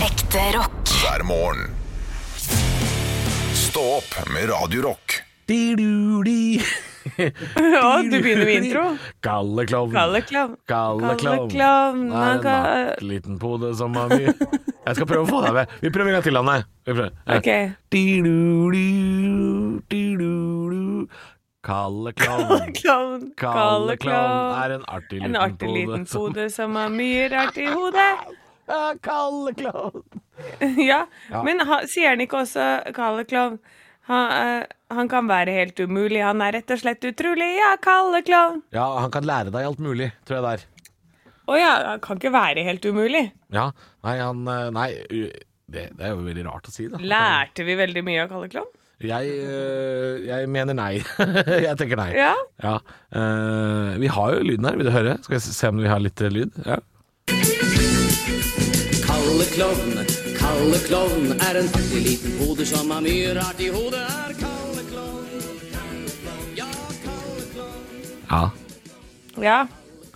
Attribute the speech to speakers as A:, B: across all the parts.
A: Ekte rock.
B: hver morgen. Stå opp med Radio Rock.
C: Di-du-di.
D: Ja, du begynner med intro.
C: Galleklovn.
D: Galleklovn.
C: Galleklovn.
D: Galleklovn.
C: Er en natt, liten pode som har mye Jeg skal prøve å få deg med. Vi prøver en gang til, Anne. Vi prøver. Ja.
D: Ok.
C: Di-du-di, di-du-du. Galleklovn.
D: Klovn,
C: Galleklovn
D: galleklovn.
C: er en artig
D: En
C: liten
D: artig liten
C: som-
D: pode som har mye rart i hodet.
C: Ja, Galleklovn.
D: Ja,
C: Ja.
D: men ha, sier han ikke også galleklovn? Han, eh, han kan være helt umulig, han er rett og slett utrolig. Ja, galleklovn.
C: Ja, han kan lære deg alt mulig, tror jeg det er.
D: Å ja, han kan ikke være helt umulig.
C: Ja, nei, han eh, Nei, u- det, det er jo veldig rart å si, da.
D: Lærte vi veldig mye av galleklovn?
C: Jeg, øh, jeg mener nei. jeg tenker nei.
D: Ja.
C: Eh, vi har jo lyden her, vil du høre? Skal jeg se om vi har litt eh, lyd? Ja.
E: Kalle klovn, kalle klovn er en artig liten pode som har mye rart i hodet. Er kalle klovn, ja, kalle klovn.
C: ja.
D: Ja.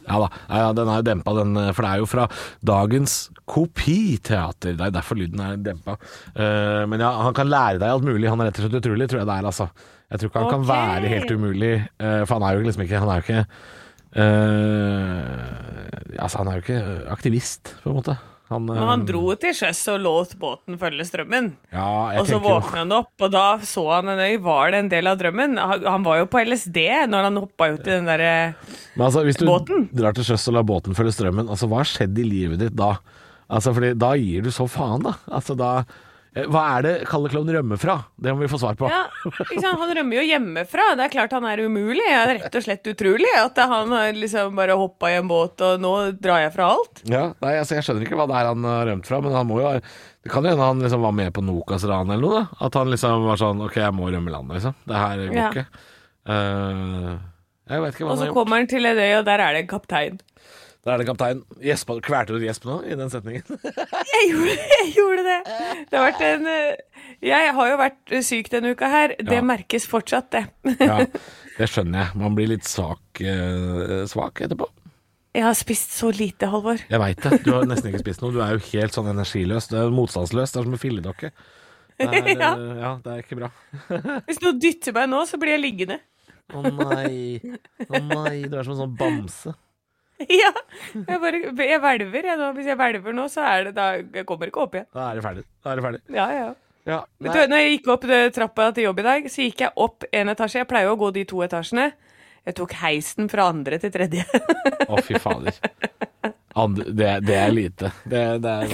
C: Ja da. Ja, ja, den er jo dempa, den, eh, for det er jo fra dagens kopiteater. Det er derfor lyden er dempa. Eh, men ja, han kan lære deg alt mulig. Han er rett og slett utrolig, tror jeg det er, altså. Jeg tror ikke han kan
D: Ok.
C: være helt umulig, eh, for han er jo liksom ikke Han er jo ikke eh, Altså, han er jo ikke aktivist, på en måte. Han,
D: Men han
C: eh,
D: dro til sjøs og lot båten følge strømmen.
C: ja, jeg
D: Og så
C: tenker jo-
D: våkna han opp, og da så han en øy. Var det en del av drømmen? Han han var jo på LSD når han hoppa ut i den derre
C: Men altså, hvis du
D: Båten?
C: drar til sjøs og lar båten følge strømmen, altså, hva har skjedd i livet ditt da? Altså, fordi da gir du så faen, da. Altså, da eh, hva er det Kalle Klovn rømmer fra? Det må vi få svar på.
D: ja, ikke sant? Han rømmer jo hjemmefra. Det er klart han er umulig. Ja, det er rett og slett utrolig at han har liksom bare hoppa i en båt, og nå drar jeg fra alt.
C: Ja, nei, altså, jeg skjønner ikke hva det er han har rømt fra, men han må jo ha Det kan jo hende han liksom var med på Nokas-ran eller noe, da. At han liksom var sånn OK, jeg må rømme landet, liksom. Det her går
D: Ja.
C: ikke. Eh, jeg vet ikke hva
D: Og
C: han har
D: så
C: gjort.
D: kommer han til en øy, og der er det en kaptein.
C: Da er det kaptein. Gjespa, kvelte du et gjesp nå i den setningen?
D: Jeg gjorde, jeg gjorde det! Det har vært en eh, Jeg har jo vært syk denne uka her. Det
C: Ja.
D: merkes fortsatt, det.
C: ja, det skjønner jeg. Man blir litt svak, eh, svak etterpå.
D: Jeg har spist så lite, Halvor.
C: Jeg veit det. Du har nesten ikke spist noe. Du er jo helt sånn energiløs. Du er motstandsløs. Det er som en filledokke. Det er, ja.
D: Ja.
C: ja, det er ikke bra.
D: Hvis noen dytter meg nå, så blir jeg liggende.
C: Å nei. Å nei. Du er som en sånn bamse.
D: Ja, jeg bare Jeg hvelver, jeg nå. Hvis jeg hvelver nå, så er det da Jeg kommer ikke opp igjen.
C: Da er det ferdig. Da er det ferdig.
D: Ja, ja.
C: Ja,
D: Vet du, hva, når jeg gikk opp eh, trappa til jobb i dag, så gikk jeg opp en etasje. Jeg pleier jo å gå de to etasjene. Jeg tok heisen fra andre til tredje.
C: Å, fy fader. Andre, det, det er lite. Det, det er,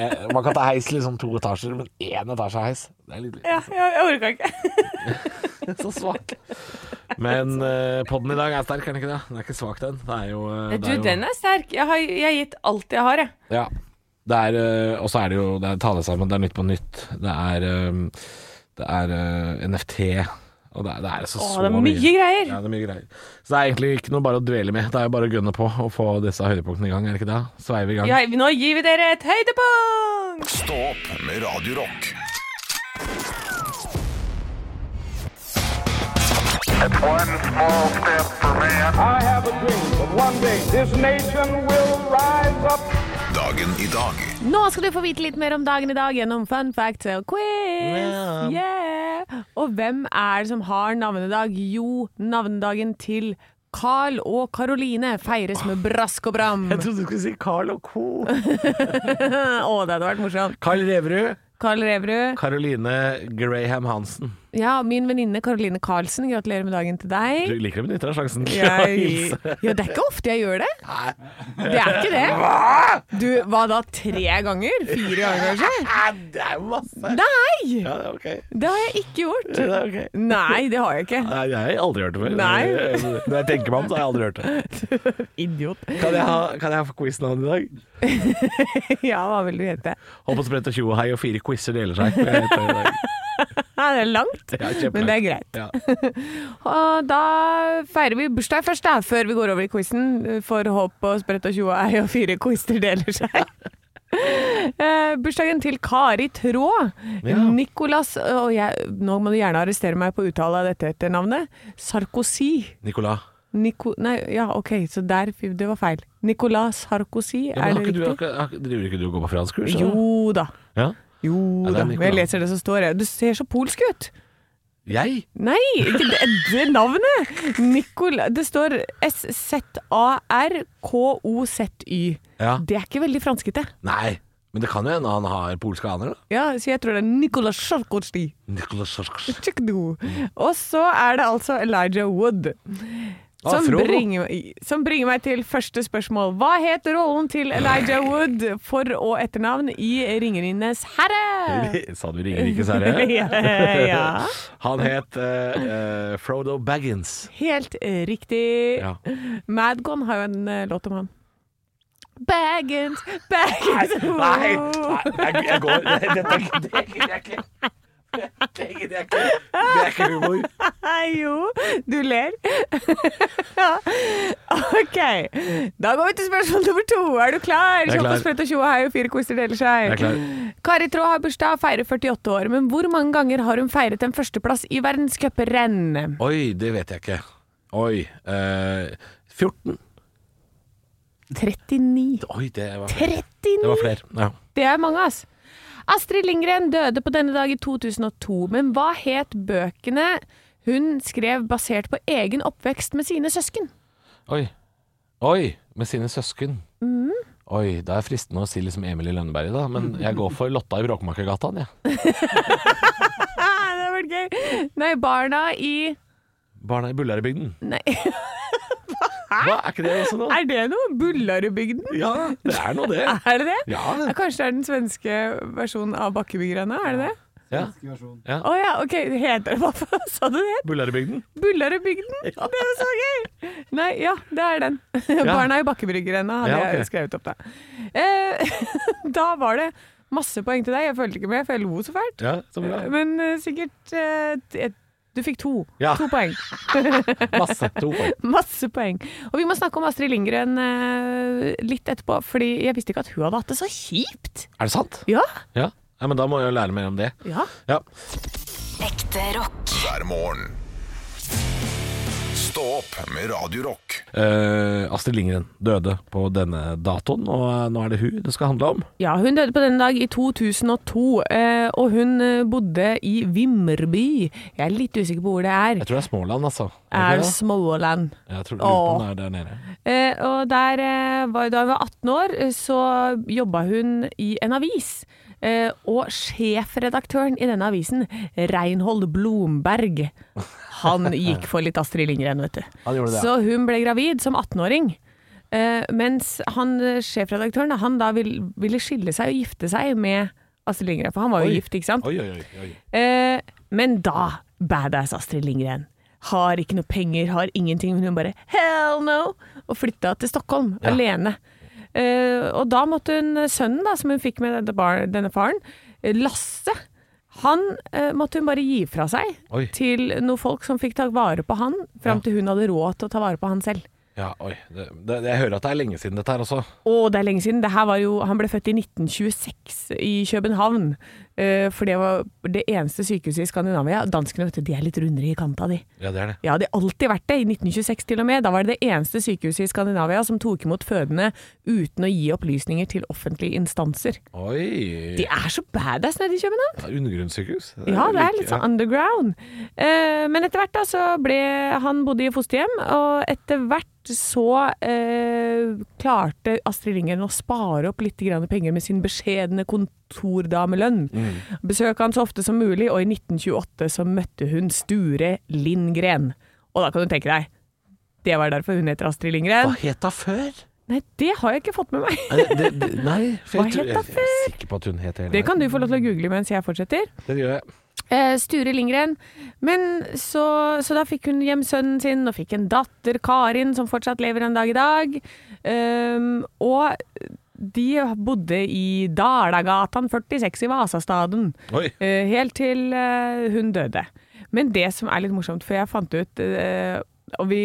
C: eh, man kan ta heis liksom to etasjer, men én etasje heis, det er litt lite.
D: Ja, jeg, jeg orka ikke.
C: Så svak. Men uh, poden i dag er sterk, er den ikke det? Den er ikke svak, den. Det er jo, eh, det
D: Du,
C: er jo
D: den er sterk. Jeg har jeg har gitt alt jeg har, jeg.
C: Ja. Det er, øh, og så er det jo det er, Ta det sammen, det er Nytt på nytt. Det er, øhm, det er øh, NFT. Og det er, det er altså
D: Åh,
C: så
D: det er mye greier.
C: Ja, det er mye greier. Så det er egentlig ikke noe bare å dvele med. Det er jo bare å gønne på og få disse høydepunktene i gang, er det ikke det? Sveive i gang.
D: jeg nå gir vi dere et høydepunkt!
B: Stå opp med Radio Rock.
F: One small step for man. I have a dream that one day this nation will rise up.
B: Dagen i dag.
D: Nå skal du få vite litt mer om dagen i dag gjennom fun facts og quiz. Yeah. Og hvem er det som har navnedag? Jo, navnedagen til Carl og Karoline feires med brask og bram. Å,
C: Jeg trodde du skulle si Carl og co.
D: det hadde vært morsomt.
C: Carl Reverud.
D: Carl Reverud.
C: Caroline Graham Hansen.
D: Ja, min venninne Karoline Karlsen, gratulerer med dagen til
C: Du
D: deg.
C: liker å benytte deg av sjansen til å
D: Jeg...
C: hilse.
D: Ja, det er ikke ofte jeg gjør det. Det er ikke det. Du, hva da? Tre ganger? Fire ganger, kanskje?
C: Det er jo masse.
D: Nei!
C: Ja, det er ok.
D: Det har jeg ikke gjort.
C: Det er ok.
D: Nei, det har jeg ikke.
C: Nei, jeg har aldri hørt det før.
D: Nei.
C: Når jeg tenker meg om, så har jeg aldri hørt det.
D: Idiot.
C: Kan jeg ha, kan jeg ha quiznavn i dag?
D: Ja, hva vil du hete?
C: Hopp og sprett og tjo og hei og fire quizer deler seg. Jeg heter i dag.
D: Nei, det er langt,
C: Ja, kjempelangt.
D: men det er greit.
C: Ja.
D: Og da feirer vi bursdag først, da, før vi går over i quizen. For håp og sprett og tjoe ei og fire quizer deler seg. Eh, bursdagen til Kari Traa.
C: Ja.
D: Nicolas og jeg, Nå må du gjerne arrestere meg på uttale av dette etternavnet. Sarkozy.
C: Nicolas.
D: Nico... Nei, ja, OK, så der Det var feil. Nicolas Sarkozy,
C: Ja,
D: er
C: men har
D: det
C: ikke du, har
D: riktig?
C: ikke- har ikke- driver ikke du og går på franskkurs? eller?
D: Jo da.
C: Ja.
D: Jo
C: Ja, det er
D: da.
C: Nicolas.
D: Jeg leser det som står her. Du ser så polsk ut!
C: Jeg?
D: Nei, ikke det, det navnet! Nicola Det står S-Z-A-R-K-O-Z-Y.
C: Ja.
D: Det er ikke veldig franskete.
C: Nei. Men det kan jo hende han har polske aner, da.
D: Ja, så jeg tror det er Nicolas Sarkozy.
C: Nicolas Sarkozy.
D: Check do. Og så er det altså Elijah Wood.
C: Ah,
D: Som
C: Frodo.
D: bringer, meg- som bringer meg til første spørsmål. Hva het rollen til Elijah Wood for- og etternavn i Ringerindenes herre?
C: Sa du Ringerikes herre?
D: ja.
C: Han het eh, eh, Frodo Baggins.
D: Helt eh, riktig.
C: Ja.
D: Madgon har jo en eh, låt om han. Baggins, Baggins
C: Nei, nei, jeg, jeg går Nei, Dette er ikke- det gidder jeg ikke. Det gidder jeg ikke. Det er ikke humor.
D: Nei, Jo, du ler. ja. OK. Da går vi til spørsmål nummer to. Er du klar?
C: er klar.
D: Kjappe sprøtt og tjo og hei, og fire koser deler seg.
C: Jeg er klar.
D: Kari Traa har bursdag, feirer 48 år. Men hvor mange ganger har hun feiret en førsteplass i verdenscuprenn?
C: Oi, det vet jeg ikke. Oi. eh, 14.
D: 39.
C: Oi, det var flere.
D: 39!
C: Det var flere. Ja.
D: Det er mange, ass. Astrid Lindgren døde på denne dag i 2002, men hva het bøkene hun skrev basert på egen oppvekst med sine søsken?
C: Oi. Oi, med sine søsken. Mm. Oi, da er jeg fristende å si liksom Emil i Lønneberg, da. Men jeg går for Lotta i Bråkmakergata, jeg.
D: Ah, det har vært gøy! Nei, barna i
C: Barna i Bullarebygden.
D: Nei,
C: Hva, er ikke det også noe?
D: er det noe? Bullarudbygden?
C: Ja, det er nå det.
D: Er det det?
C: Ja, det-
D: Kanskje det er den svenske versjonen av Bakkebyggerne? Er det det?
C: Ja.
D: Å ja, ok. Heter det hva sa du det het?
C: Bullarebygden.
D: Bullarudbygden? Det er jo så gøy! Nei, ja, det er den. Barna i Bakkebryggerne hadde
C: Ja, ok.
D: jeg skrevet opp, da. Eh, da var det masse poeng til deg. Jeg følte ikke med, for jeg lo så fælt.
C: Ja, så bra.
D: Men eh, sikkert eh, t- et- Du fikk to.
C: Ja.
D: To poeng.
C: Masse. To poeng.
D: Masse poeng. Og vi må snakke om Astrid Lindgren eh, litt etterpå, fordi jeg visste ikke at hun hadde hatt det så kjipt.
C: Er det sant?
D: Ja.
C: Ja. ja, men da må jeg jo lære mer om det.
D: ja.
C: Ja.
A: Ekte rock.
B: hver morgen. Stå opp med Radio Rock.
C: Eh, Astrid Lindgren døde på denne datoen, og nå er det hun det skal handle om.
D: Ja, hun døde på denne dag i 2002, eh, og hun eh, bodde i Vimmerby. Jeg er litt usikker på hvor det er.
C: Jeg tror det er Småland, altså. Er det
D: Er
C: ikke det?
D: Småland.
C: Jeg tror lurer på om
D: Åh.
C: det er der nede.
D: Eh, og der, eh, var, da hun var 18 år, eh, så jobba hun i en avis. Eh, og sjefredaktøren i denne avisen, Reinhold Blomberg, han gikk for litt Astrid Lindgren, vet du.
C: Han gjorde det, ja.
D: Så hun ble gravid som 18-åring. Eh, mens han, eh, sjefredaktøren da, han da vil, ville skille seg og gifte seg med Astrid Lindgren, for han var jo gift, ikke sant?
C: Oi, oi, oi. oi.
D: Eh, men da, badass Astrid Lindgren, har ikke noe penger, har ingenting, men hun bare hell no! Og flytta til Stockholm alene. Eh, og da måtte hun, sønnen da, som hun fikk med denne, bar, denne faren, eh, Lasse, han eh, måtte hun bare gi fra seg
C: Oi.
D: til noen folk som fikk ta vare på han, fram til hun hadde råd til å ta vare på han selv.
C: Ja, oi. Det, det, jeg hører at det er lenge siden dette her også.
D: Å, det er lenge siden. Det her var jo, han ble født i 1926 i København. eh, for det var det eneste sykehuset i Skandinavia. Danskene vet du, de er litt rundere i kanta, de.
C: Ja, det er det.
D: Ja, det har alltid vært det. I 1926 til og med. Da var det det eneste sykehuset i Skandinavia som tok imot fødende uten å gi opplysninger til offentlige instanser.
C: Oi.
D: De er så badass nede i København!
C: Det er Undergrunnssykehus.
D: Ja, det er
C: like-
D: litt sånn underground. Eh, men etter hvert da så ble han bodde i fosterhjem, og etter hvert så eh, klarte Astrid Lindgren å spare opp litt grann penger med sin beskjedne kontordamelønn. Besøk han så ofte som mulig, og i 1928 så møtte hun Sture Lindgren. Og da kan du tenke deg, det var derfor hun heter Astrid
C: Hva
D: Lindgren.
C: het hun før?
D: Nei, det har jeg ikke fått med meg.
C: Nei, det, det, nei for
D: Hva
C: jeg, tror-
D: het
C: jeg,
D: hun
C: jeg er sikker på at hun het hele
D: Det kan du få lov til å google mens jeg fortsetter.
C: Det gjør jeg.
D: Eh, Sture Lindgren. Men så, så da fikk hun hjem sønnen sin og fikk en datter, Karin, som fortsatt lever en dag i dag. Ehm, og de bodde i Dalagatan 46 i Vasastaden,
C: Oi.
D: eh, helt til eh, hun døde. Men det som er litt morsomt, for jeg fant ut eh, Og vi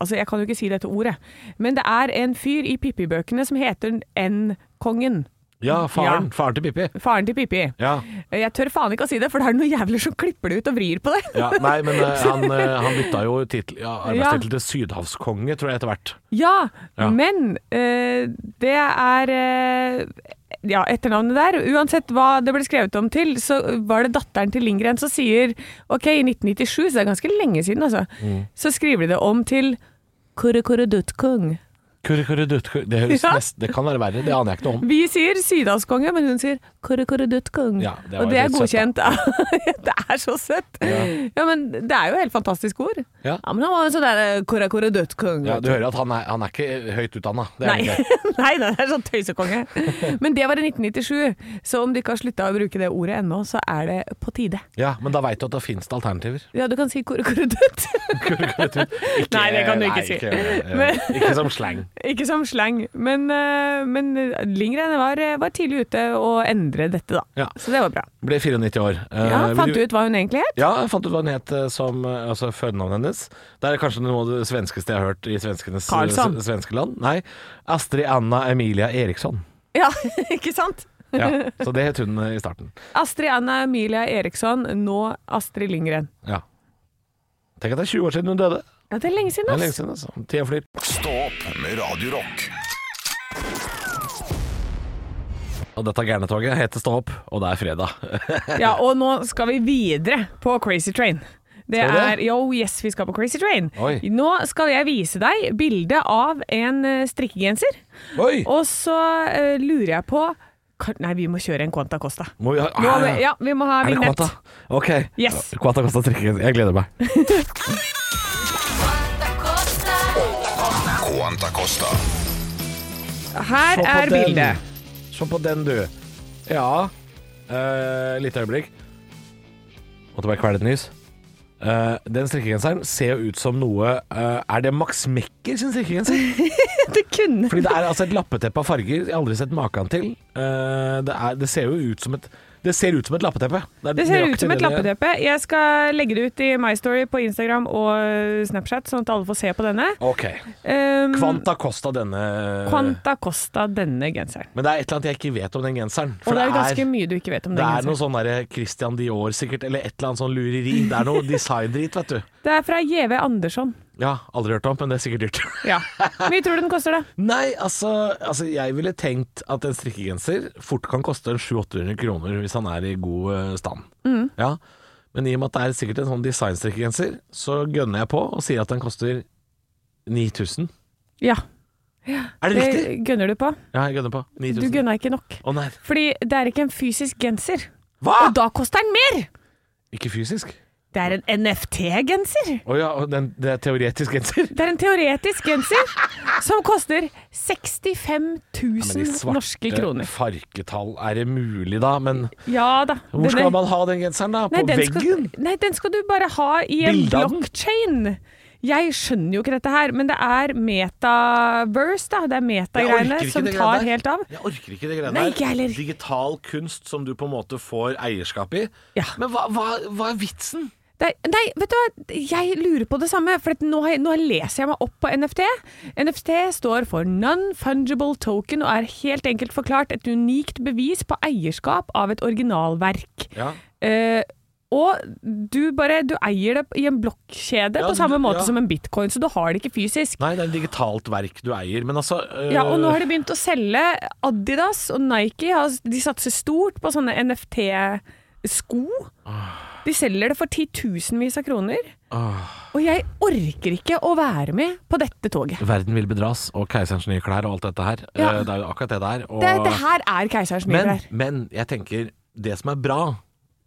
D: Altså, jeg kan jo ikke si dette ordet, men det er en fyr i Pippi-bøkene som heter N-kongen.
C: Ja, faren.
D: Ja.
C: Faren til Pippi.
D: Faren til Pippi.
C: Ja.
D: Jeg tør faen ikke å si det, for det er noen jævler som klipper det ut og vrir på det.
C: Ja, nei, men eh, han, eh, han bytta jo titel, ja, arbeidstittel
D: Ja.
C: til sydhavskonge, tror jeg, etter hvert.
D: Ja,
C: Ja.
D: men eh, det er eh, Ja, etternavnet der. Uansett hva det ble skrevet om til, så var det datteren til Lindgren som sier Ok, i 1997, så det er ganske lenge siden, altså.
C: Mm.
D: Så skriver de det om til Kurrekurreduttkung.
C: Kurrekurredutkung Det høres
D: Ja.
C: nest, det kan være verre, det aner jeg ikke noe om.
D: Vi sier Sydhavskonge, men hun sier Kurrekurreduttkung.
C: Ja, det var
D: Og det er
C: litt søtt,
D: godkjent. det er så søtt! Ja. men det er jo helt fantastisk ord.
C: Ja.
D: men han var jo sånn der Kurrekurreduttkung.
C: Ja, du hører at han er, han er ikke høyt utdanna. Det er han
D: Nei.
C: ikke.
D: Nei, det er sånn tøysekonge. Men det var i 1997, så om du ikke har slutta å bruke det ordet ennå, så er det på tide.
C: Ja, men da veit du at det fins alternativer.
D: Ja, du kan si korrekorredutt.
C: Ikke-
D: Nei, det kan
C: nei,
D: du ikke si.
C: eh,
D: Men-
C: ikke som slang.
D: Ikke som slang, men, eh, men Lindgren var, eh, var tidlig ute å endre dette, da.
C: Ja.
D: Så det var bra.
C: Ble 94 år. Eh,
D: Ja,
C: vil
D: Fant
C: du
D: du ut hva hun egentlig het?
C: Ja, jeg fant ut hva hun het eh, som eh, altså, fødenavnet hennes. Det er kanskje noe av det svenskeste jeg har hørt i svenskenes eh,
D: Karlsson.
C: s- svenske land. Nei, Astrid Anna Emilia Eriksson.
D: Ja, ikke sant?
C: Ja, så det het hun eh, i starten.
D: Astrid Anna Emilia Eriksson, nå Astrid Lindgren.
C: Ja. Tenk at det er 20 år siden hun døde.
D: Ja, det er lenge siden,
C: Det
D: ass.
C: er lenge siden, altså. Tida flyr.
B: Stå opp med Radio Rock.
C: Og dette gærnetoget heter Stå opp, og det er fredag.
D: Ja, og nå skal vi videre på Crazy Train. Det
C: Skal vi det?
D: er, jo, yes, vi skal på Crazy Train.
C: Oi.
D: Nå skal jeg vise deg bildet av en eh, strikkegenser.
C: Oi!
D: Og så eh, lurer jeg på kan, Nei, vi må kjøre en Quanta Costa.
C: Må vi ha,
D: Nå, må vi- ja, vi må ha
C: Er det
D: vignett.
C: Quanta? Ok.
D: Yes.
C: Quanta Costa strikker. Jeg gleder meg.
B: Quanta Costa.
D: Her
C: Se på
D: er
C: den.
D: bildet.
C: Se på den, du. Ja uh, Litt øyeblikk. Måtte bare kvele et nys. Eh, den strikkegenseren ser jo ut som noe eh, Er det Max Mekker sin strikkegenser?
D: Det kunne
C: Fordi det er altså et lappeteppe av farger jeg har aldri sett maken til. Eh, det, er, det ser jo ut som et Det ser ut som et lappeteppe. er
D: Det ser
C: nøyaktig
D: ut som et
C: det det er.
D: lappeteppe. Jeg skal legge det ut i My Story på Instagram og Snapchat, sånn at alle får se på denne.
C: Ok.
D: Um,
C: Kvanta Costa denne
D: Quanta Costa, denne genseren.
C: Men det er et eller annet jeg ikke vet om den genseren.
D: Og det er ganske mye du ikke vet om den
C: Det er
D: genseren.
C: noe sånn der Christian Dior sikkert, eller et eller annet sånn lureri. Det er noe designdrit, vet du.
D: Det er fra JV Andersson.
C: Ja, aldri hørt om, men det er sikkert dyrt.
D: Ja. Mye tror du den koster, da?
C: Nei, altså, altså jeg ville tenkt at en strikkegenser fort kan koste en 700-800 kroner hvis han er i god eh, stand. Ja, men i og med at det er sikkert en sånn designstrikkegenser, så gønner jeg på og sier at den koster 9000.
D: Ja.
C: Er det, riktig?
D: Det gønner du på.
C: Ja, jeg gønner på.
D: Du
C: 9000.
D: gønna ikke nok.
C: Å nei.
D: Fordi det er ikke en fysisk genser.
C: Hva?!
D: Og da koster den mer!
C: Ikke fysisk.
D: Det er en NFT-genser!
C: Å ja, og den, det er teoretisk genser.
D: Det er en teoretisk genser som koster 65
C: Men i
D: 000 norske kroner.
C: farketall, er det mulig da? Men
D: Ja da.
C: hvor skal man ha den genseren da? På
D: den
C: veggen?
D: Skal, nei, den skal du bare ha i en
C: Bilde av den?
D: blockchain. Jeg skjønner jo ikke dette her, men det er metaverse, da. Det er metagreiene
C: Jeg orker ikke
D: som
C: det greiene
D: tar
C: der.
D: helt av.
C: Jeg orker ikke det greiene
D: Nei, ikke jeg heller.
C: Digital kunst som du på en måte får eierskap i.
D: Ja.
C: Men hva, hva, hva er vitsen?
D: Det er, nei, vet du hva? Jeg lurer på det samme, for at nå, har jeg- nå leser jeg meg opp på NFT. NFT står for Non-Fungible Token og er helt enkelt forklart et unikt bevis på eierskap av et originalverk.
C: Ja.
D: Eh, og du bare du eier det i en blokkjede
C: Ja,
D: på samme
C: du-
D: måte
C: ja.
D: som en bitcoin, så du har det ikke fysisk.
C: Nei, det er et digitalt verk du eier, men altså øh,
D: Ja, og nå har de begynt å selge Adidas og Nike. har- De satser stort på sånne NFT-sko.
C: Ah.
D: De selger det for titusenvis av kroner. Og jeg orker ikke å være med på dette toget.
C: Verden vil bedras, og keiserens nye klær og alt dette her.
D: Ja.
C: Eh, Det er jo akkurat det det er. og-
D: Det, det her er keiserens nye
C: men,
D: klær.
C: men jeg tenker, det som er bra,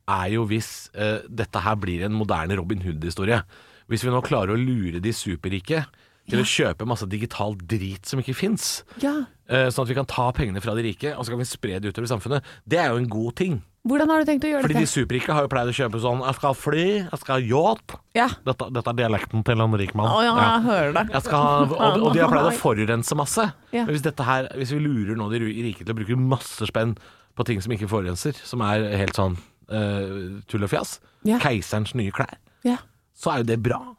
C: er jo hvis eh, dette her blir en moderne Robin Hood-historie. Hvis vi nå klarer å lure de superrike til å kjøpe masse digital drit som ikke fins.
D: Ja.
C: Eh, Sånn at vi kan ta pengene fra de rike og så kan vi spre det utover i samfunnet. Det er jo en god ting.
D: Hvordan har du tenkt å gjøre
C: Fordi de
D: dette?
C: superrike har jo pleid å kjøpe sånn 'Jeg skal ha fly, jeg skal ha yacht'.
D: Ja.
C: Dette, dette er dialekten til en rik mann.
D: Å ja,
C: Ja.
D: jeg hører det.
C: Jeg skal ha, og, og de har pleid å forurense masse.
D: Ja.
C: Men hvis, dette her, hvis vi lurer nå de ru- rike til å bruke masse spenn på ting som ikke forurenser, som er helt sånn eh, tull og fjas,
D: Ja.
C: keiserens nye klær,
D: Ja.
C: så er jo det bra.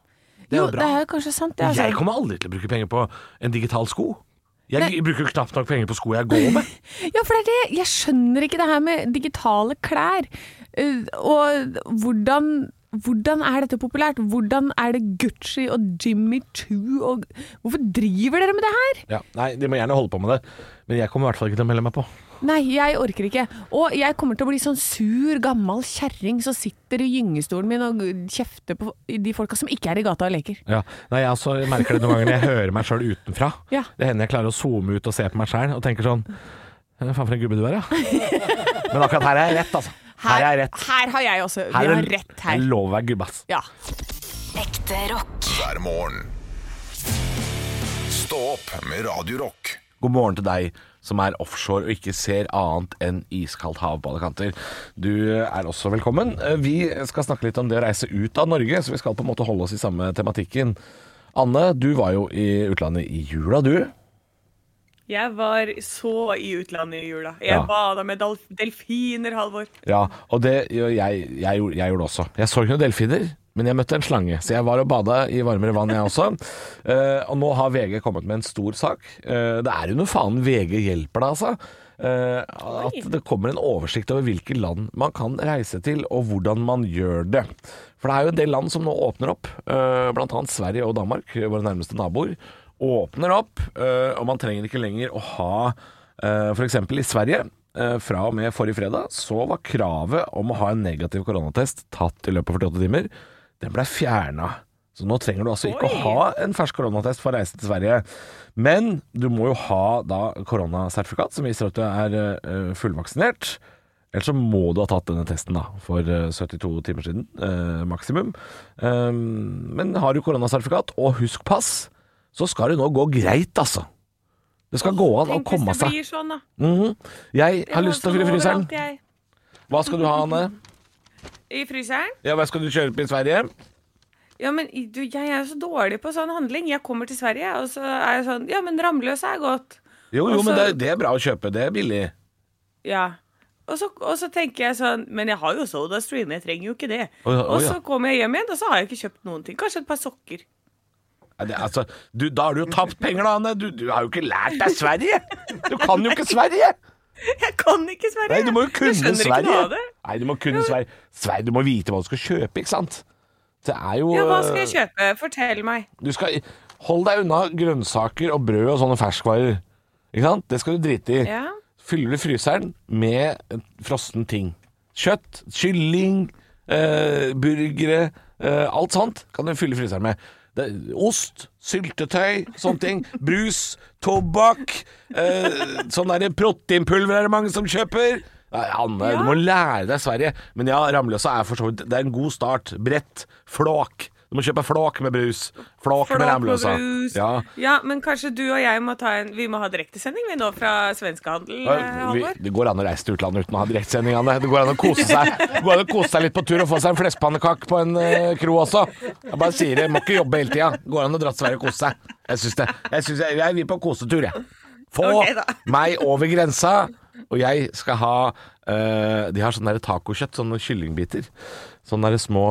C: Det er
D: Jo,
C: jo
D: det
C: bra.
D: er jo kanskje sant. Det, altså.
C: Jeg kommer aldri til å bruke penger på en digital sko. Jeg bruker jo knapt nok penger på sko jeg går med.
D: Ja, for det er det. Jeg skjønner ikke det her med digitale klær. Eh, Og hvordan, hvordan er dette populært? Hvordan er det Gucci og Jimmy Choo og Hvorfor driver dere med det her?
C: Ja, nei, De må gjerne holde på med det, men jeg kommer i hvert fall ikke til å melde meg på.
D: Nei, jeg orker ikke. Og jeg kommer til å bli sånn sur, gammel kjerring som sitter i gyngestolen min og kjefter på de folka som ikke er i gata og leker.
C: Ja. Nei, jeg også merker det noen ganger når jeg hører meg sjøl utenfra.
D: Ja.
C: Det hender jeg klarer å zoome ut og se på meg sjøl og tenker sånn Faen for en gubbe du er, ja. Men akkurat her er jeg rett, altså. Her, er jeg rett.
D: her har jeg også.
C: Her
D: Vi
C: er-
D: har rett
C: Jeg
D: her.
C: lover å være gubbe, ass.
D: Ja.
A: Ekte rock.
B: hver morgen. Stå opp med Radio Rock.
C: God morgen til deg som er offshore og ikke ser annet enn iskaldt hav på alle kanter. Du er også velkommen. Eh, Vi skal snakke litt om det å reise ut av Norge, så vi skal på en måte holde oss i samme tematikken. Anne, du var jo i utlandet i jula, du.
G: Jeg var så i utlandet i jula. Jeg
C: Ja.
G: bada med dal- delfiner, Halvor.
C: Ja, og det gjør jeg, jeg, gjorde- jeg gjorde det også. Jeg så ikke noen delfiner, men jeg møtte en slange. Så jeg var og bada i varmere vann, jeg også. Eh, og nå har VG kommet med en stor sak. Eh, det er jo noe faen VG hjelper deg, altså. Eh, at det kommer en oversikt over hvilke land man kan reise til, og hvordan man gjør det. For det er jo en del land som nå åpner opp, eh, blant annet Sverige og Danmark, våre nærmeste naboer, åpner opp, eh, og man trenger ikke lenger å ha Eh, For eksempel i Sverige, eh, fra og med forrige fredag, så var kravet om å ha en negativ koronatest tatt i løpet av 48 timer, den ble fjerna. Så nå trenger du altså ikke å ha en fersk koronatest for å reise til Sverige. Men du må jo ha da koronasertifikat som viser at du er eh, fullvaksinert. Ellers så må du ha tatt denne testen da, for eh, 72 timer siden, eh, maksimum. Um, men har du koronasertifikat og husk pass, så skal det nå gå greit, altså. Det skal gå an å
G: Tenk
C: komme
G: hvis det
C: seg.
G: blir sånn, da.
C: Mhm. Jeg har
G: Jeg
C: lyst til å
G: må
C: fylle
G: sånn
C: fryseren.
G: overalt, jeg.
C: Hva skal du ha, Anne?
G: I fryseren?
C: Ja, Hva skal du kjøre på i Sverige?
G: Ja, men i- du, jeg er så dårlig på sånn handling. Jeg kommer til Sverige, og så er jeg sånn Ja, men ramløs er godt.
C: Jo, jo,
G: Og
C: men
G: så-
C: det, det er bra å kjøpe. Det er billig.
G: Ja. Og så, og så tenker jeg sånn Men jeg har jo Soda Stream, jeg trenger jo ikke det.
C: Å ja, å
G: og
C: ja.
G: så kommer jeg hjem igjen, og så har jeg ikke kjøpt noen ting. Kanskje et par sokker.
C: Nei, Det, altså, du, da har du jo tapt penger, da, Anne. Du, du har jo ikke lært deg Sverige! Du kan jo ikke Sverige!
G: Jeg kan ikke Sverige!
C: Nei, du må jo kunne
G: jeg skjønner
C: Sverige.
G: ikke noe av det.
C: Nei, du må kunne Sverige. Sverige. Du må vite hva du skal kjøpe, ikke sant? Det er jo
G: Ja, hva skal jeg kjøpe? Fortell meg.
C: Du skal Hold deg unna grønnsaker og brød og sånne ferskvarer. Ikke sant? Det skal du drite i.
G: Ja.
C: Fyller du fryseren med frossen ting. Kjøtt, kylling, eh, burgere, eh, alt sånt kan du fylle fryseren med. Det, ost, syltetøy, sånne ting. Brus, tobakk. Eh, sånn derre proteinpulver er det mange som kjøper. Nei, Anne, du må lære deg Sverige. Men ja, Ramløsa er for så vidt Det er en god start. Brett. Flåk. Du må kjøpe flåk med brus. Flåk,
G: Flåk
C: med
G: og
C: Ramløsa.
G: brus.
C: Ja.
G: Ja, men kanskje du og jeg må ta en Vi må ha direktesending vi nå fra svenskehandel, eh,
C: Ja, vi,
G: Halvor?
C: det går an å reise til utlandet uten å ha direktsending, Anne. Det går an å kose seg Det går an å kose seg litt på tur og få seg en fleskpannekakk på en eh, kro også. Jeg bare sier det. Må ikke jobbe hele tida. Det går an å dra til Sverige og kose seg. Jeg syns det. Jeg, synes jeg, jeg vil på kosetur, jeg. Få
G: Ok, da.
C: meg over grensa, og jeg skal ha eh, De har sånn der tacokjøtt, sånne kyllingbiter. Sånne der små,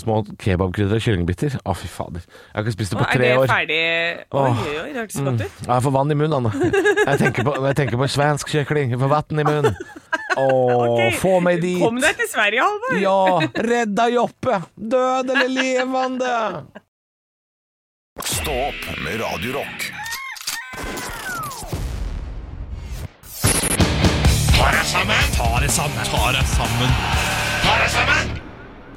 C: små kebabkrydder og kyllingbiter. Å, fy fader. Jeg har ikke spist det på
G: Å, er
C: tre
G: det
C: år.
G: ferdig Oi,
C: Åh. Mm.
G: oi, oi, det hørtes godt ut.
C: Ja, jeg får vann i munnen, Anne. Jeg tenker på, jeg tenker på svensk kjøkling. Jeg får vann i munnen. Å,
G: Ok,
C: få meg
G: Kom
C: dit.
G: deg til Sverige, Halvor!
C: Ja, redda Joppe. Død eller levende.
B: Stå opp med Radio Rock.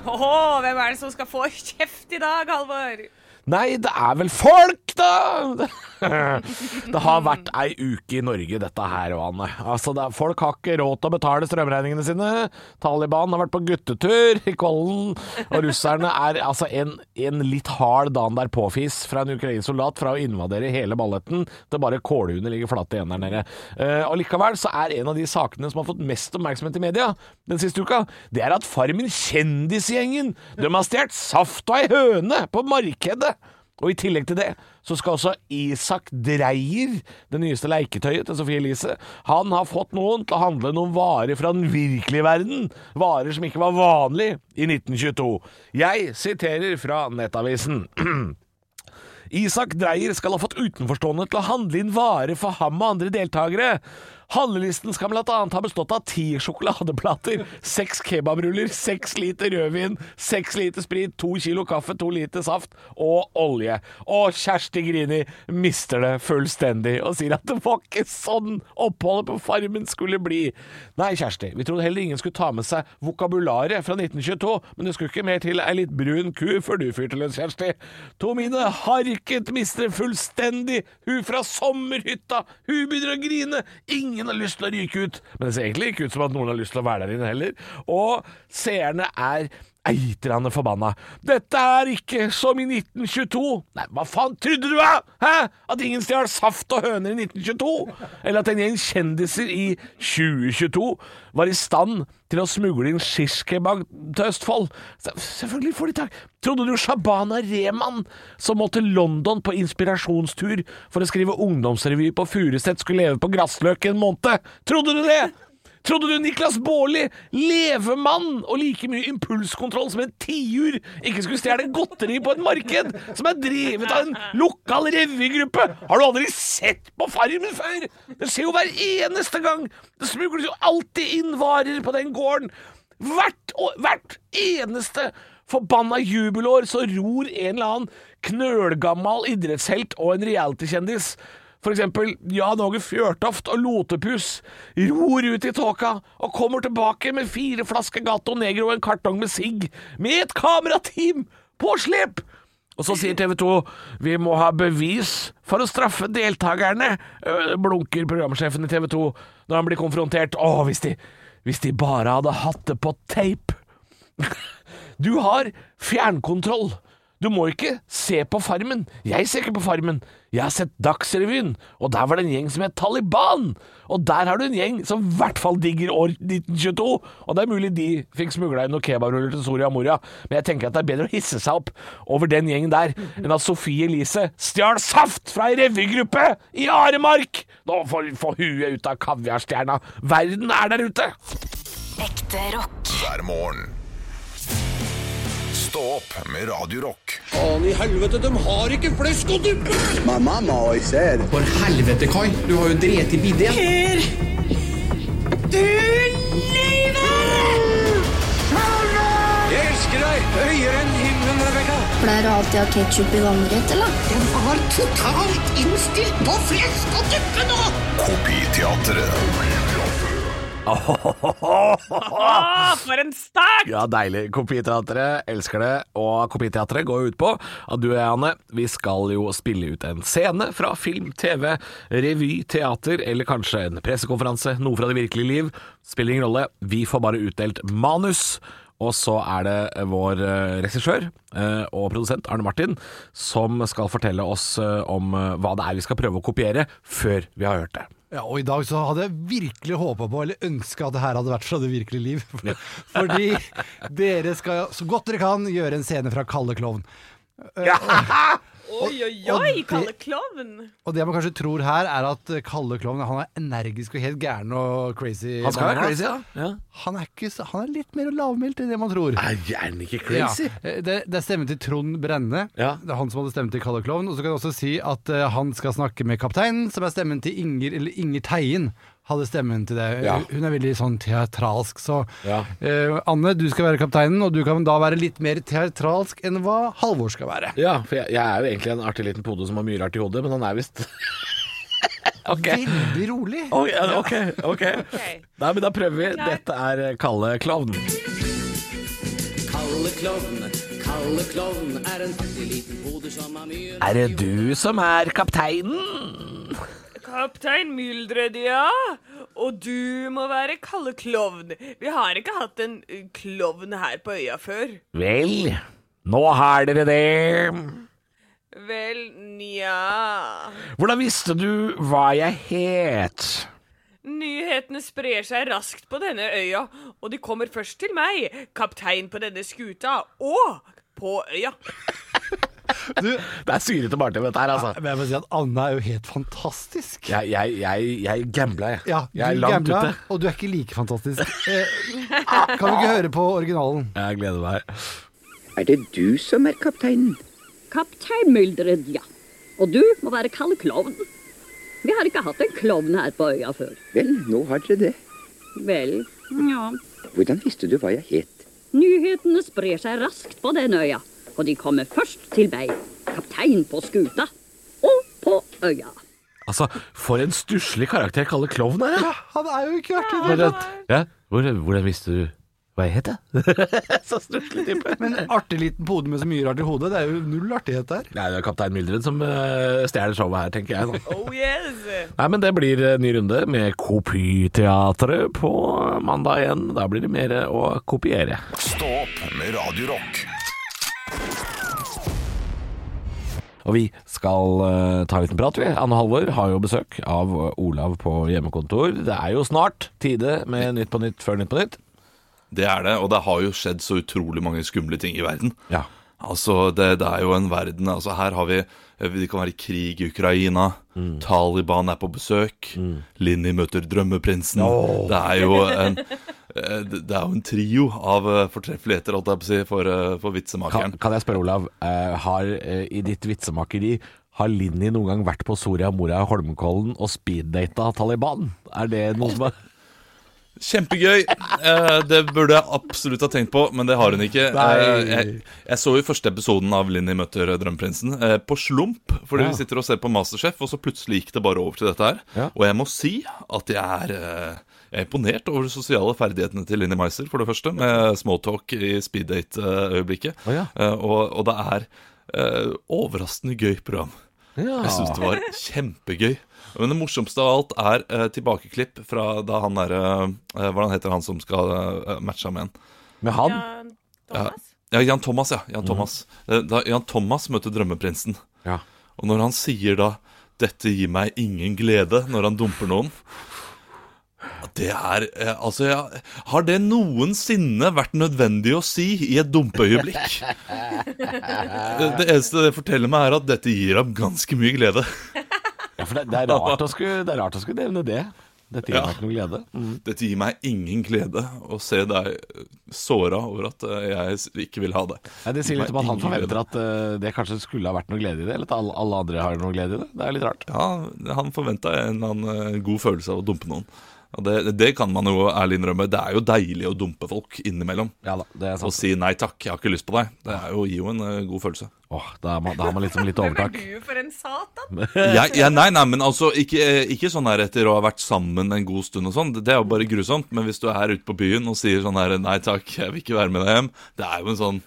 G: Åh, hvem er det som skal få kjeft i dag, Halvor?
C: Nei, det er vel folk, da! Det har vært ei uke i Norge, dette her, og Anne. Altså, det er, folk har ikke råd til å betale strømregningene sine. Taliban har vært på guttetur i Kollen. Og russerne er altså en, en litt hard dagen derpå-fis fra en ukrainsk soldat fra å invadere hele balletten til bare kålhuene ligger flate igjen der nede. Eh, og likevel så er en av de sakene som har fått mest oppmerksomhet i media den siste uka, det er at Farmen Kjendisgjengen de har stjålet saft og ei høne på markedet. Og i tillegg til det så skal også Isak Dreyer, det nyeste leiketøyet til Sofie Elise, han har fått noen til å handle noen varer fra den virkelige verden. Varer som ikke var vanlig i 1922. Jeg siterer fra Nettavisen. Isak Dreyer skal ha fått utenforstående til å handle inn varer for ham og andre deltakere. Handlelisten skal blant annet ha bestått av ti sjokoladeplater, seks kebabruller, seks liter rødvin, seks liter sprit, to kilo kaffe, to liter saft og olje. Og Kjersti Grini mister det fullstendig og sier at det var ikke sånn oppholdet på Farmen skulle bli. Nei, Kjersti, vi trodde heller ingen skulle ta med seg vokabularet fra 1922, men det skulle ikke mer til ei litt brun ku før du fyrte løs, Kjersti. Tomine harket mister det fullstendig, hun fra sommerhytta, hun begynner å grine, ingen har lyst til å ryke ut, men det ser egentlig ikke ut som at noen har lyst til å være der inne heller, og seerne er eitrande forbanna. Dette er ikke som i 1922. Nei, hva faen trodde du, da? Hæ? At ingen stjal saft og høner i 1922? Eller at en gjeng kjendiser i 2022 var i stand til å smugle inn shishkebab til Østfold? Se- Selvfølgelig får de tak. Trodde du Shabana Rehman, som må til London på inspirasjonstur for å skrive ungdomsrevy på Furuset, skulle leve på Grassløk en måned? Trodde du det? Trodde du Niklas Baarli, levemann og like mye impulskontroll som en tiur, ikke skulle stjele godteri på et marked som er drevet av en lokal revygruppe? Har du aldri sett på Farmen før? Det skjer jo hver eneste gang! Det smugles jo alltid inn varer på den gården. Hvert, år, hvert eneste forbanna jubelår så ror en eller annen knølgammal idrettshelt og en realitykjendis. For eksempel Jan Åge Fjørtoft og Lotepus ror ut i tåka og kommer tilbake med fire flasker Gato Negro og en kartong med sigg, med et kamerateam på slep! Og så sier TV 2 vi må ha bevis for å straffe deltakerne, øh, blunker programsjefen i TV 2 når han blir konfrontert. Å, hvis de, hvis de bare hadde hatt det på tape! Du har fjernkontroll. Du må ikke se på Farmen. Jeg ser ikke på Farmen. Jeg har sett Dagsrevyen, og der var det en gjeng som het Taliban. Og der har du en gjeng som i hvert fall digger år 1922. Og det er mulig de fikk smugla inn noen kebabruller til Soria Moria, men jeg tenker at det er bedre å hisse seg opp over den gjengen der enn at Sofie Elise stjal saft fra ei revygruppe i Aremark! Nå får få huet ut av kaviarstjerna. Verden er der ute!
A: Ekte rock.
B: hver morgen. Stå opp med Radio Rock.
E: Faen i helvete, de har ikke flesk og duppe!
H: My mama always said,
I: For helvete, Kai! Du har jo drept i bidé.
E: Jeg elsker deg høyere enn himmelen, Rebekka!
J: Pleier du alltid å ha ketsjup i vannrett, eller?
H: Den var totalt innstilt på flesk og duppe nå!
B: Kopiteatret.
G: Å, for en start!
C: Ja, deilig. Kopiteatret elsker det. Og Kopiteatret går ut på at du og jeg, Anne, vi skal jo spille ut en scene fra film, TV, revy, teater eller kanskje en pressekonferanse, noe fra det virkelige liv. Spiller ingen rolle. Vi får bare utdelt manus. Og så er det vår eh, regissør eh, og produsent Arne Martin som skal fortelle oss eh, om eh, hva det er vi skal prøve å kopiere, før vi har hørt det.
K: Ja, og i dag så hadde jeg virkelig håpa på, eller ønska at det her hadde vært fra det virkelige liv. For- Fordi dere skal, så godt dere kan, gjøre en scene fra Kalle klovn.
G: Oi, oi,
K: og
G: oi,
K: det-
G: kalle klovn!
K: Og det man kanskje tror her, er at Kalle klovn han er energisk og helt gæren og crazy.
C: Han skal være
K: bananas.
C: crazy, da. Ja.
K: Han er, ikke, så- han er litt mer lavmælt enn det man tror.
C: Er gjerne ikke
K: Ja. Det, det er stemmen til Trond Brenne.
C: Ja.
K: Det er han som hadde stemmen til Kalle Klovn. Og så kan jeg også si at eh, han skal snakke med kapteinen, som er stemmen til Inger, eller Inger Teien. Hadde stemmen til det.
C: Ja.
K: Hun er veldig sånn teatralsk. Så
C: Ja.
K: eh, Anne, du skal være kapteinen, og du kan da være litt mer teatralsk enn hva Halvor skal være.
C: Ja, for jeg, jeg er jo egentlig en artig liten pode som har mye rart i hodet, men han er visst Ok.
K: Veldig rolig.
C: Ok, ok. ok.
G: Ok.
C: Nei, men da prøver vi. Dette er eh, Kalle Klovn.
E: Kalle klovn, Kalle klovn er en fattig liten hode som har mye
C: Er det du som er kapteinen?
G: Kaptein Myldred, ja. Og du må være kalle klovn. Vi har ikke hatt en eh, klovn her på øya før.
C: Vel, nå har dere det.
G: Vel, nja
C: Hvordan visste du hva jeg het?
G: Nyhetene sprer seg raskt på denne øya, og de kommer først til meg, kaptein på denne skuta, og på øya.
K: Du,
C: Det er syrete barne, dette her, altså.
K: men jeg må si at Anne er jo helt fantastisk.
C: Jeg, jeg, jeg, jeg gambla, jeg.
K: Ja,
C: jeg er
K: du
C: langt
K: gambla,
C: ute.
K: og du er ikke like fantastisk. Eh, kan vi ikke høre på originalen?
C: Jeg gleder meg.
H: Er det du som er kapteinen?
J: Kaptein Myldred, ja.
L: Og du må være kald klovn. Vi har ikke hatt en klovn her på øya før.
M: Vel, nå har dere det.
L: Vel, ja.
M: Hvordan visste du hva jeg het?
L: Nyhetene sprer seg raskt på den øya, og de kommer først til meg, kaptein på skuta og på øya.
C: Altså, for en stusslig karakter Kalle Klovn er, ja!
K: Han er jo ikke artig,
C: Hvordan, ja. Hvordan, hvordan visste du hva jeg het, da?
K: så stusslig type. Men artig liten pode med så mye rart i hodet, det er jo null artighet der.
C: Nei, det er kaptein Myldren som eh, stjeler showet her, tenker jeg. Da.
G: Oh yes!
C: Nei, men det blir eh, ny runde med Kopyteatret på mandag igjen. Da blir det mer eh, å kopiere.
B: Stå opp med Radio Rock.
C: Og vi skal eh, ta en liten prat, vi. Anne Halvor har jo besøk av eh, Olav på hjemmekontor. Det er jo snart tide med Nytt på nytt før Nytt på nytt.
N: Det er det, og det har jo skjedd så utrolig mange skumle ting i verden.
C: Ja.
N: Altså, det, det er jo en verden altså Her har vi Det kan være krig i Ukraina.
K: Mm.
N: Taliban er på besøk. Linni møter drømmeprinsen.
O: Åh.
N: Det er jo en eh, det er jo en trio av eh, fortreffeligheter, holdt jeg på å si, for, eh, for vitsemakeren.
C: Kan, kan jeg spørre, Olav, eh, har eh, i ditt vitsemakeri har Linni noen gang vært på Soria Moria og Holmenkollen og speeddata Taliban? Er det noe som er
N: Kjempegøy. Eh, det burde jeg absolutt ha tenkt på, men det har hun ikke.
C: Nei.
N: Eh, jeg, jeg så jo første episoden av Linni møter drømmeprinsen eh, på slump, fordi
C: Ja.
N: vi sitter og ser på Masterchef, og så plutselig gikk det bare over til dette her.
C: Ja.
N: Og jeg må si at jeg er, eh, jeg er imponert over de sosiale ferdighetene til Linni Meiser, for det første, med smalltalk i speeddate-øyeblikket.
C: Å ja.
N: Eh, og, og det er eh, overraskende gøy program.
C: Ja.
N: Jeg syns det var kjempegøy. Men det morsomste av alt er eh, tilbakeklipp fra da han derre eh, Hvordan heter han som skal eh, matche med en?
C: Med han?
N: Thomas? Ja, Jan Thomas, ja. Jan Thomas. Eh, Da Jan Thomas møter drømmeprinsen.
C: Ja.
N: Og når han sier da 'Dette gir meg ingen glede', når han dumper noen det er eh, Altså, jeg, har det noensinne vært nødvendig å si i et dumpeøyeblikk? Det, det eneste det forteller meg, er at dette gir ham ganske mye glede.
C: Ja, for det, det, er rart å skulle, det er rart å skulle nevne det. Dette gir meg ikke noe glede.
N: Dette gir meg ingen glede å se deg såra over at eh, jeg s- ikke vil ha det.
C: Nei, det sier litt om at han
N: Gir meg ingen
C: forventer at eh, det kanskje skulle ha vært noe glede i det, eller at alle, alle andre har noe glede i det. Det er litt rart.
N: Ja, han forventa en eller annen eh, god følelse av å dumpe noen. Og det, det kan man jo ærlig innrømme. Det er jo deilig å dumpe folk innimellom. Og si 'nei takk, jeg har ikke lyst på deg'. Det er jo, gir jo en eh, god følelse.
C: Åh, da, har man, da har man liksom litt overtak.
G: Du for en satan.
N: jeg, jeg, nei, nei, men altså ikke, ikke sånn her etter å ha vært sammen en god stund og sånn. Det er jo bare grusomt. Men hvis du er ute på byen og sier sånn her Nei takk, jeg vil ikke være med deg hjem. Det er jo en sånn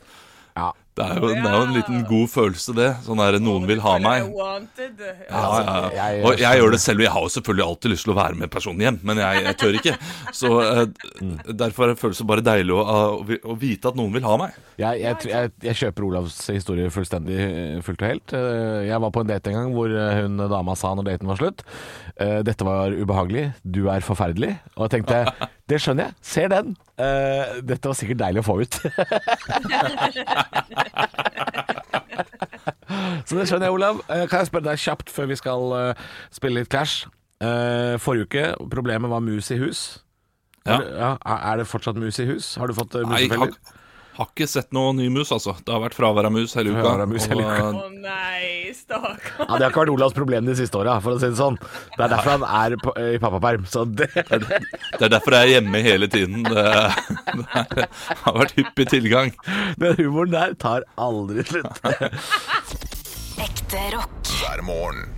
N: Det er jo, det er jo en liten god følelse, det. Sånn her Noen vil ha meg.
G: Wanted.
N: Ja, ja, ja. Og jeg gjør det selv. og Jeg har jo selvfølgelig alltid lyst til å være med personen hjem, men jeg, jeg tør ikke. Så eh,
C: Mm.
N: derfor føles det bare deilig å, å, å vite at noen vil ha meg.
C: Jeg, jeg, tr- jeg, jeg kjøper Olavs historie fullstendig eh, fullt og helt. Eh, Jeg var på en date en gang hvor eh, hun eh, dama sa når daten var slutt eh, Dette var ubehagelig, du er forferdelig. Og jeg tenkte det skjønner jeg, ser den. Eh, Dette var sikkert deilig å få ut. Så det skjønner jeg, Olav. Eh, Kan jeg spørre deg kjapt før vi skal eh, spille litt Clash? Eh, Forrige uke, problemet var mus i hus.
N: Ja.
C: Er, det- ja, er- er det fortsatt mus i hus? Har du fått eh,
N: Nei,
C: musefeller?
N: har, har ikke sett noe ny mus, altså. Det har vært fravær av mus hele uka.
C: Fravær av mus hele
N: og,
C: uka.
G: Å nei, stakkar.
C: Ja, Det har ikke vært Olavs problem de siste åra, for å si det sånn. Det er derfor han er på, eh, i pappaperm. Så det,
N: eh, Det er derfor jeg er hjemme hele tiden. Det, det er- har vært hyppig tilgang.
C: den humoren der tar aldri slutt.
A: Ekte rock.
B: hver morgen.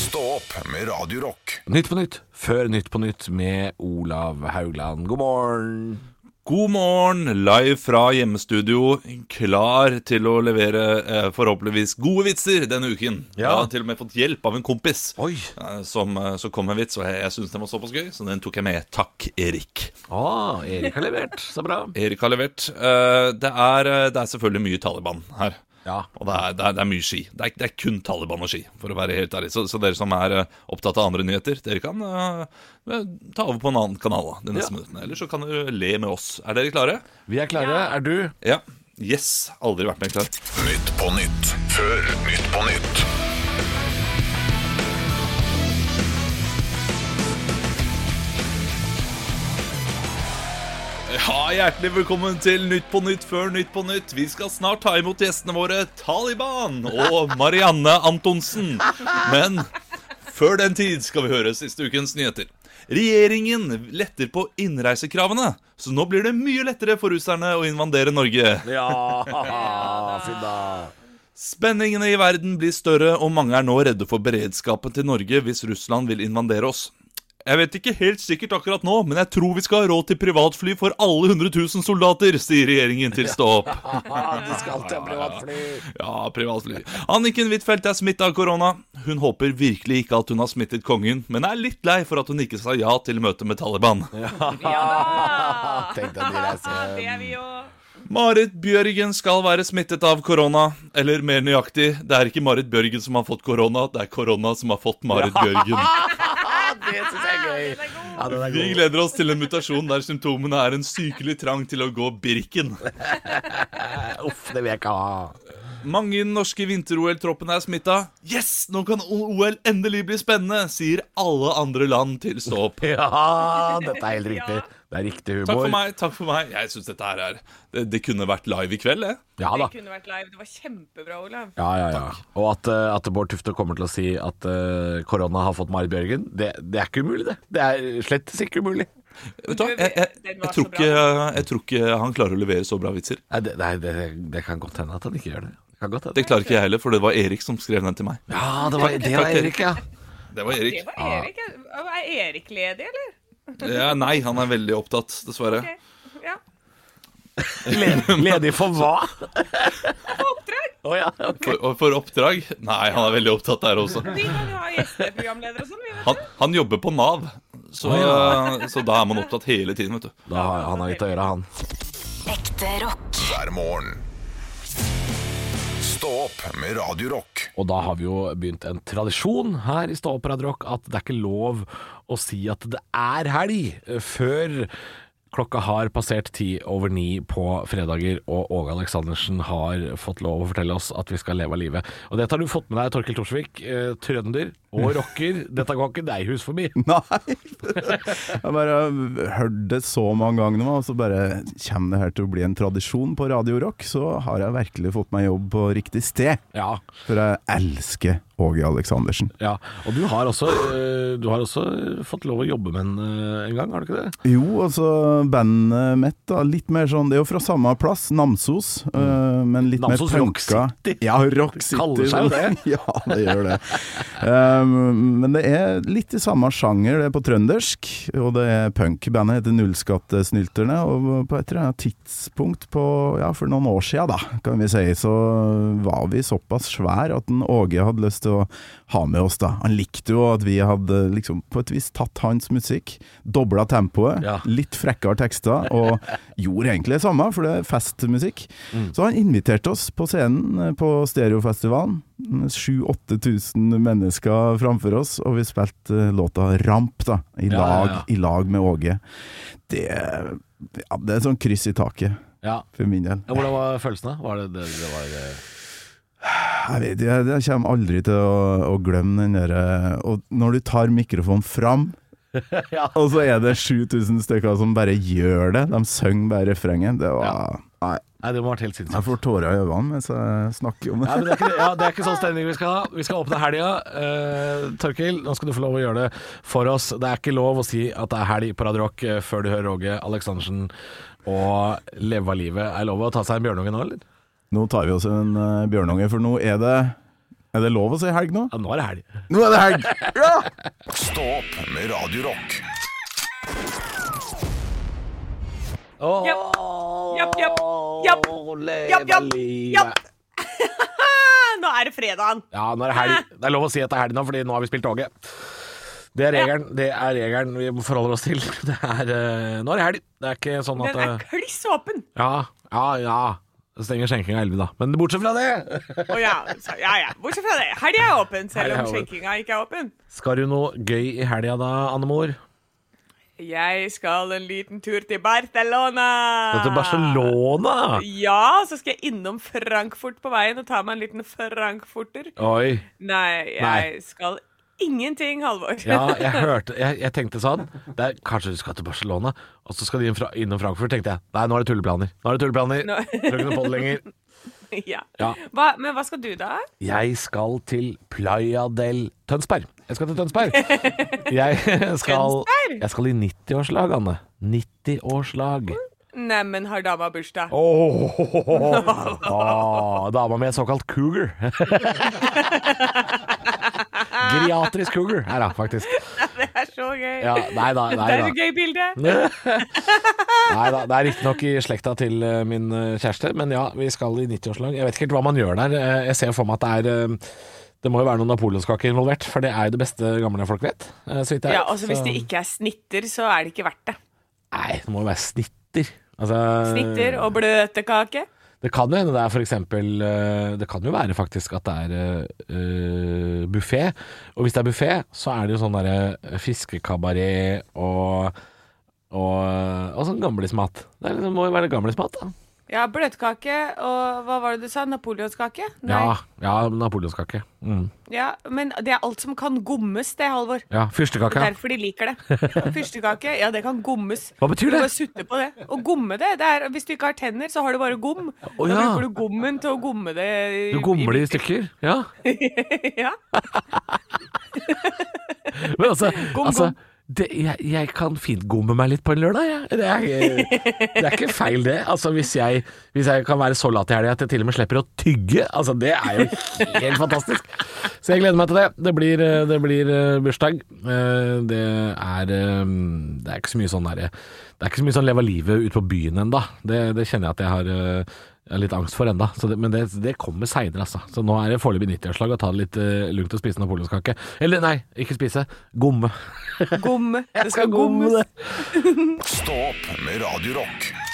B: Stå opp med Radio Rock.
C: Nytt på nytt før Nytt på nytt med Olav Haugland. God morgen.
N: God morgen, live fra hjemmestudio, klar til å levere eh, forhåpentligvis gode vitser denne uken. Jeg
C: Ja.
N: har til og med fått hjelp av en kompis eh, som eh, så kom med en vits, og jeg, jeg syns den var såpass gøy, så den tok jeg med. Takk, Erik.
C: Ah, Erik har levert. Så bra.
N: Erik har levert. Eh, det, er, eh, det er selvfølgelig mye Taliban her.
C: Ja.
N: Og det er, det, er, det er mye ski. Det er, det er kun Taliban og ski, for å være helt ærlig. Så, så dere som er eh, opptatt av andre nyheter, dere kan eh, ta over på en annen kanal da, de neste
C: Ja.
N: minuttene. Eller så kan dere le med oss. Er dere klare?
C: Vi er klare. Er du?
N: Ja. Yes. Aldri vært mer klar.
B: Nytt på nytt før Nytt på nytt.
N: Ja, Hjertelig velkommen til Nytt på Nytt før Nytt på Nytt. Vi skal snart ta imot gjestene våre Taliban og Marianne Antonsen. Men før den tid skal vi høre siste ukens nyheter. Regjeringen letter på innreisekravene, så nå blir det mye lettere for russerne å invandere Norge.
C: Ja, fy da.
N: Spenningene i verden blir større, og mange er nå redde for beredskapen til Norge hvis Russland vil invandere oss. Jeg vet ikke helt sikkert akkurat nå, men jeg tror vi skal ha råd til privatfly for alle 100 000 soldater, sier regjeringen til Stå opp.
C: De skal alltid ha privatfly.
N: Ja, privatfly. Anniken Huitfeldt er smitta av korona. Hun håper virkelig ikke at hun har smittet kongen, men er litt lei for at hun ikke sa ja til møtet med Taliban.
C: Tenk deg de reiser.
G: Det er vi òg.
N: Marit Bjørgen skal være smittet av korona. Eller mer nøyaktig, det er ikke Marit Bjørgen som har fått korona, det er korona som har fått Marit Bjørgen.
C: Det syns jeg er gøy. Ja, den er
N: Vi
C: god.
N: gleder oss til en mutasjon der symptomene er en sykelig trang til å gå Birken.
C: Uff, det vil jeg ikke ha.
N: Mange i den norske vinter-OL-troppen er smitta. Yes, nå kan OL endelig bli spennende, sier alle andre land til stå opp.
C: Ja, dette er helt riktig. Det er riktig humor.
N: Takk for meg. takk for meg Jeg syns dette her er det, det kunne vært live i kveld, det.
C: Ja da.
G: Det kunne vært live. Det var kjempebra, Olav.
C: Ja, ja, ja. Og at, eh, at Bård Tufte kommer til å si at eh, korona har fått Marit Bjørgen, det, det er ikke umulig, det. Det er slett ikke umulig.
N: Vet du hva, jeg, jeg, jeg,
G: var
N: tror
G: så
N: ikke, jeg tror ikke han klarer å levere så bra vitser.
C: Nei, det, nei, det, det kan godt hende at han ikke gjør det. Det kan godt hende.
N: Det klarer ikke jeg heller, for det var Erik som skrev den til meg.
C: Ja, det var, det var Erik, ja.
N: Det var
G: Det
N: Erik.
G: var Erik. Er Erik ledig, eller?
N: Ja, nei, han er veldig opptatt, dessverre.
G: Ok. Ja.
C: Le- Ledig for hva?
G: Oppdrag!
C: Å ja. ok.
N: For, og for oppdrag? Nei, han er veldig opptatt der også.
G: Vi kan jo ha gjesteprogramleder og sånn. vi, vet
N: Han, han jobber på Nav, så,
C: Å,
N: så da er man opptatt hele tiden, vet du.
C: Da har han har litt å gjøre, han.
A: Ekte rock.
B: hver morgen. Stå opp med Radio Rock.
C: Og da har vi jo begynt en tradisjon her i Stå opp Radio Rock at det er ikke lov å si at det er helg eh, før klokka har passert ti over ni på fredager, og Åge Aleksandersen har fått lov å fortelle oss at vi skal leve av livet. Og dette har du fått med deg, Torkil Torsvik, eh, trønder og rocker. Dette går ikke deg hus forbi.
O: Nei! Jeg bare har hørt det så mange ganger nå, og så bare kommer det her til å bli en tradisjon på Radio Rock. Så har jeg virkelig fått meg jobb på riktig sted.
C: Ja.
O: For jeg elsker Åge Aleksandersen.
C: Ja, og du har også, eh, du har også fått lov å jobbe med en, eh, en gang, har du ikke det?
O: Jo, altså bandet mitt, da. Litt mer sånn Det er jo fra samme plass, Namsos, øh, men litt
C: Namsos
O: mer
C: Rock
O: punka.
C: City.
O: Ja, Rock
C: Det
O: City.
C: kaller seg jo det.
O: ja, det gjør det. Um, men det er litt i samme sjanger, det er på trøndersk, og det er punk. Bandet heter Nullskattesnylterne, og på et eller annet tidspunkt på ja, for noen år siden, da, kan vi si, så var vi såpass svær at en Åge hadde lyst til å ha med oss, da. Han likte jo at vi hadde liksom på et vis tatt hans musikk, dobla tempoet,
C: Ja.
O: litt frekkere tekster, og gjorde egentlig det samme, for det er festmusikk.
C: Mm.
O: Så han inviterte oss på scenen eh, på Stereofestivalen. 7000-8000 mennesker framfor oss, og vi spilte eh, låta 'Ramp' da, i
C: Ja, ja,
O: lag,
C: ja.
O: I lag med Åge. Det, ja, det er sånn kryss i taket,
C: Ja.
O: for min del.
C: Ja, Hvordan var følelsene? Var det, det, det var, eh,
O: Jeg vet jeg, jeg kommer aldri til å, å glemme den derre Og når du tar mikrofonen fram Og så er det 7000 stykker som bare gjør det. De synger bare refrenget. Det var Nei,
C: Nei, det må ha vært helt sinnssykt.
O: jeg får tårer i øynene mens jeg snakker om
C: Nei, men
O: det.
C: det, er ikke, ja, det er ikke sånn stemning vi skal ha. Vi skal åpne helga. Eh, Torkil, nå skal du få lov å gjøre det for oss. Det er ikke lov å si at det er helg på Radio Rock eh, før du hører Åge Aleksandersen og leve av livet. Er det lov å ta seg en bjørnunge nå, eller?
O: Nå tar vi oss en eh, bjørnunge, for nå er det Er det lov å si helg nå?
C: Ja, nå er det helg.
O: Nå er det helg! Ja!
B: Stå opp med Radio Rock.
C: Åh,
G: Japp. Japp, japp. Japp. Japp,
C: leve
G: japp.
C: av
G: Japp.
C: livet.
G: du. Nå er det fredagen.
C: Ja, nå er det helg. Det er lov å si at det er helg nå, fordi nå har vi spilt toget. Det er regelen, det er regelen vi forholder oss til. Det er, eh, nå er det helg. Det er ikke sånn at
G: Den er
C: eh,
G: kliss åpen.
C: Ja, ja, ja. Det Stenger skjenkinga 11, da. Men bortsett fra det
G: Å ja, så, ja, ja. Bortsett fra det. Helga er åpen, selv
C: Helga er
G: om
C: åpen.
G: skjenkinga ikke er åpen.
C: Skal du noe gøy i helga da, Annemor?
G: Jeg skal en liten tur til Barcelona. Ah.
C: Dette er Barcelona!
G: Ja, så skal jeg innom Frankfurt på veien og ta meg en liten frankfurter.
C: Oi.
G: Nei, jeg
C: Nei.
G: skal ingenting, Halvor.
C: Ja, jeg hørte Jeg, jeg tenkte sånn det er, Kanskje du skal til Barcelona, og så skal de inn fra- innom Frankfurt, tenkte jeg. Nei, nå er det tulleplaner. Nå er det tulleplaner.
G: Nå-
C: Tror ikke noe på det lenger.
G: ja.
C: Ja.
G: Hva, men hva skal du, da?
C: Jeg skal til Playa del Tønsberg. Jeg skal til Tønsberg. Jeg skal,
G: Tønsberg?
C: jeg skal i 90-årslag, Anne. 90-årslag.
G: Neimen, har dama bursdag?
C: Åh, Åh, dama mi er såkalt cougar. Geriatrisk cougar er hun faktisk.
G: Det er så gøy.
C: Ja, nei da, nei
G: det er
C: da.
G: et gøy bilde.
C: Nei da, det er riktignok i slekta til eh, min eh, kjæreste, men ja, vi skal i 90-årslag. Jeg vet ikke helt hva man gjør der. Eh, Jeg ser for meg at det er eh, Det må jo være noen napoleonskake involvert, for det er jo det beste gamle folk vet. eh, Så vidt jeg
G: Ja,
C: vet.
G: altså Hvis
C: Så-
G: det ikke er snitter, så er det ikke verdt det.
C: Nei, det må jo være snitter. Altså,
G: Snitter og bløtkake.
C: Det kan jo hende det er for eksempel eh, Det kan jo være faktisk at det er uh, buffé. Og hvis det er buffé, så er det jo sånn derre fiskekabaret og, og, og sånn gamlismat. Det, er liksom- må jo være gamlismat, da.
G: Ja, bløtkake og hva var det du sa? Napoleonskake? Nei.
C: Ja, ja napoleonskake. Mm.
G: Ja, Men det er alt som kan gommes, det, Halvor.
C: Ja, fyrstekake,
G: Det
C: ja.
G: er derfor de liker det. Fyrstekake, ja, det kan gommes.
C: Hva betyr
G: Du
C: det?
G: bare sutter på det. Å gomme det, det er Hvis du ikke har tenner, så har du bare gom.
C: Å,
G: Da
C: ja.
G: bruker du gommen til å gomme det. i-
C: Du gommer det i stykker. Ja.
G: ja.
C: Men altså,
G: Gom,
C: altså
G: gom.
C: det, jeg, jeg kan fint gomme meg litt på en lørdag, jeg. Det er, det er ikke feil, det. Altså, hvis, jeg, hvis jeg kan være så lat i helga at jeg til og med slipper å tygge, altså, det er jo helt fantastisk. Så jeg gleder meg til det. Det blir, eh, det blir eh, bursdag. Eh, Det er, eh, det er ikke så mye sånn derre Det er ikke så mye sånn leve livet ute på byen ennå. Det, det kjenner jeg at jeg har eh, jeg har litt angst for ennå, men det, det kommer seinere, altså. Så nå er det foreløpig 90-årslag å ta det litt eh, lugnt og spise napoleonskake. Eller nei, ikke spise. Gomme.
G: Gomme.
C: Jeg skal gomme det.
B: Stå opp med Radio Rock.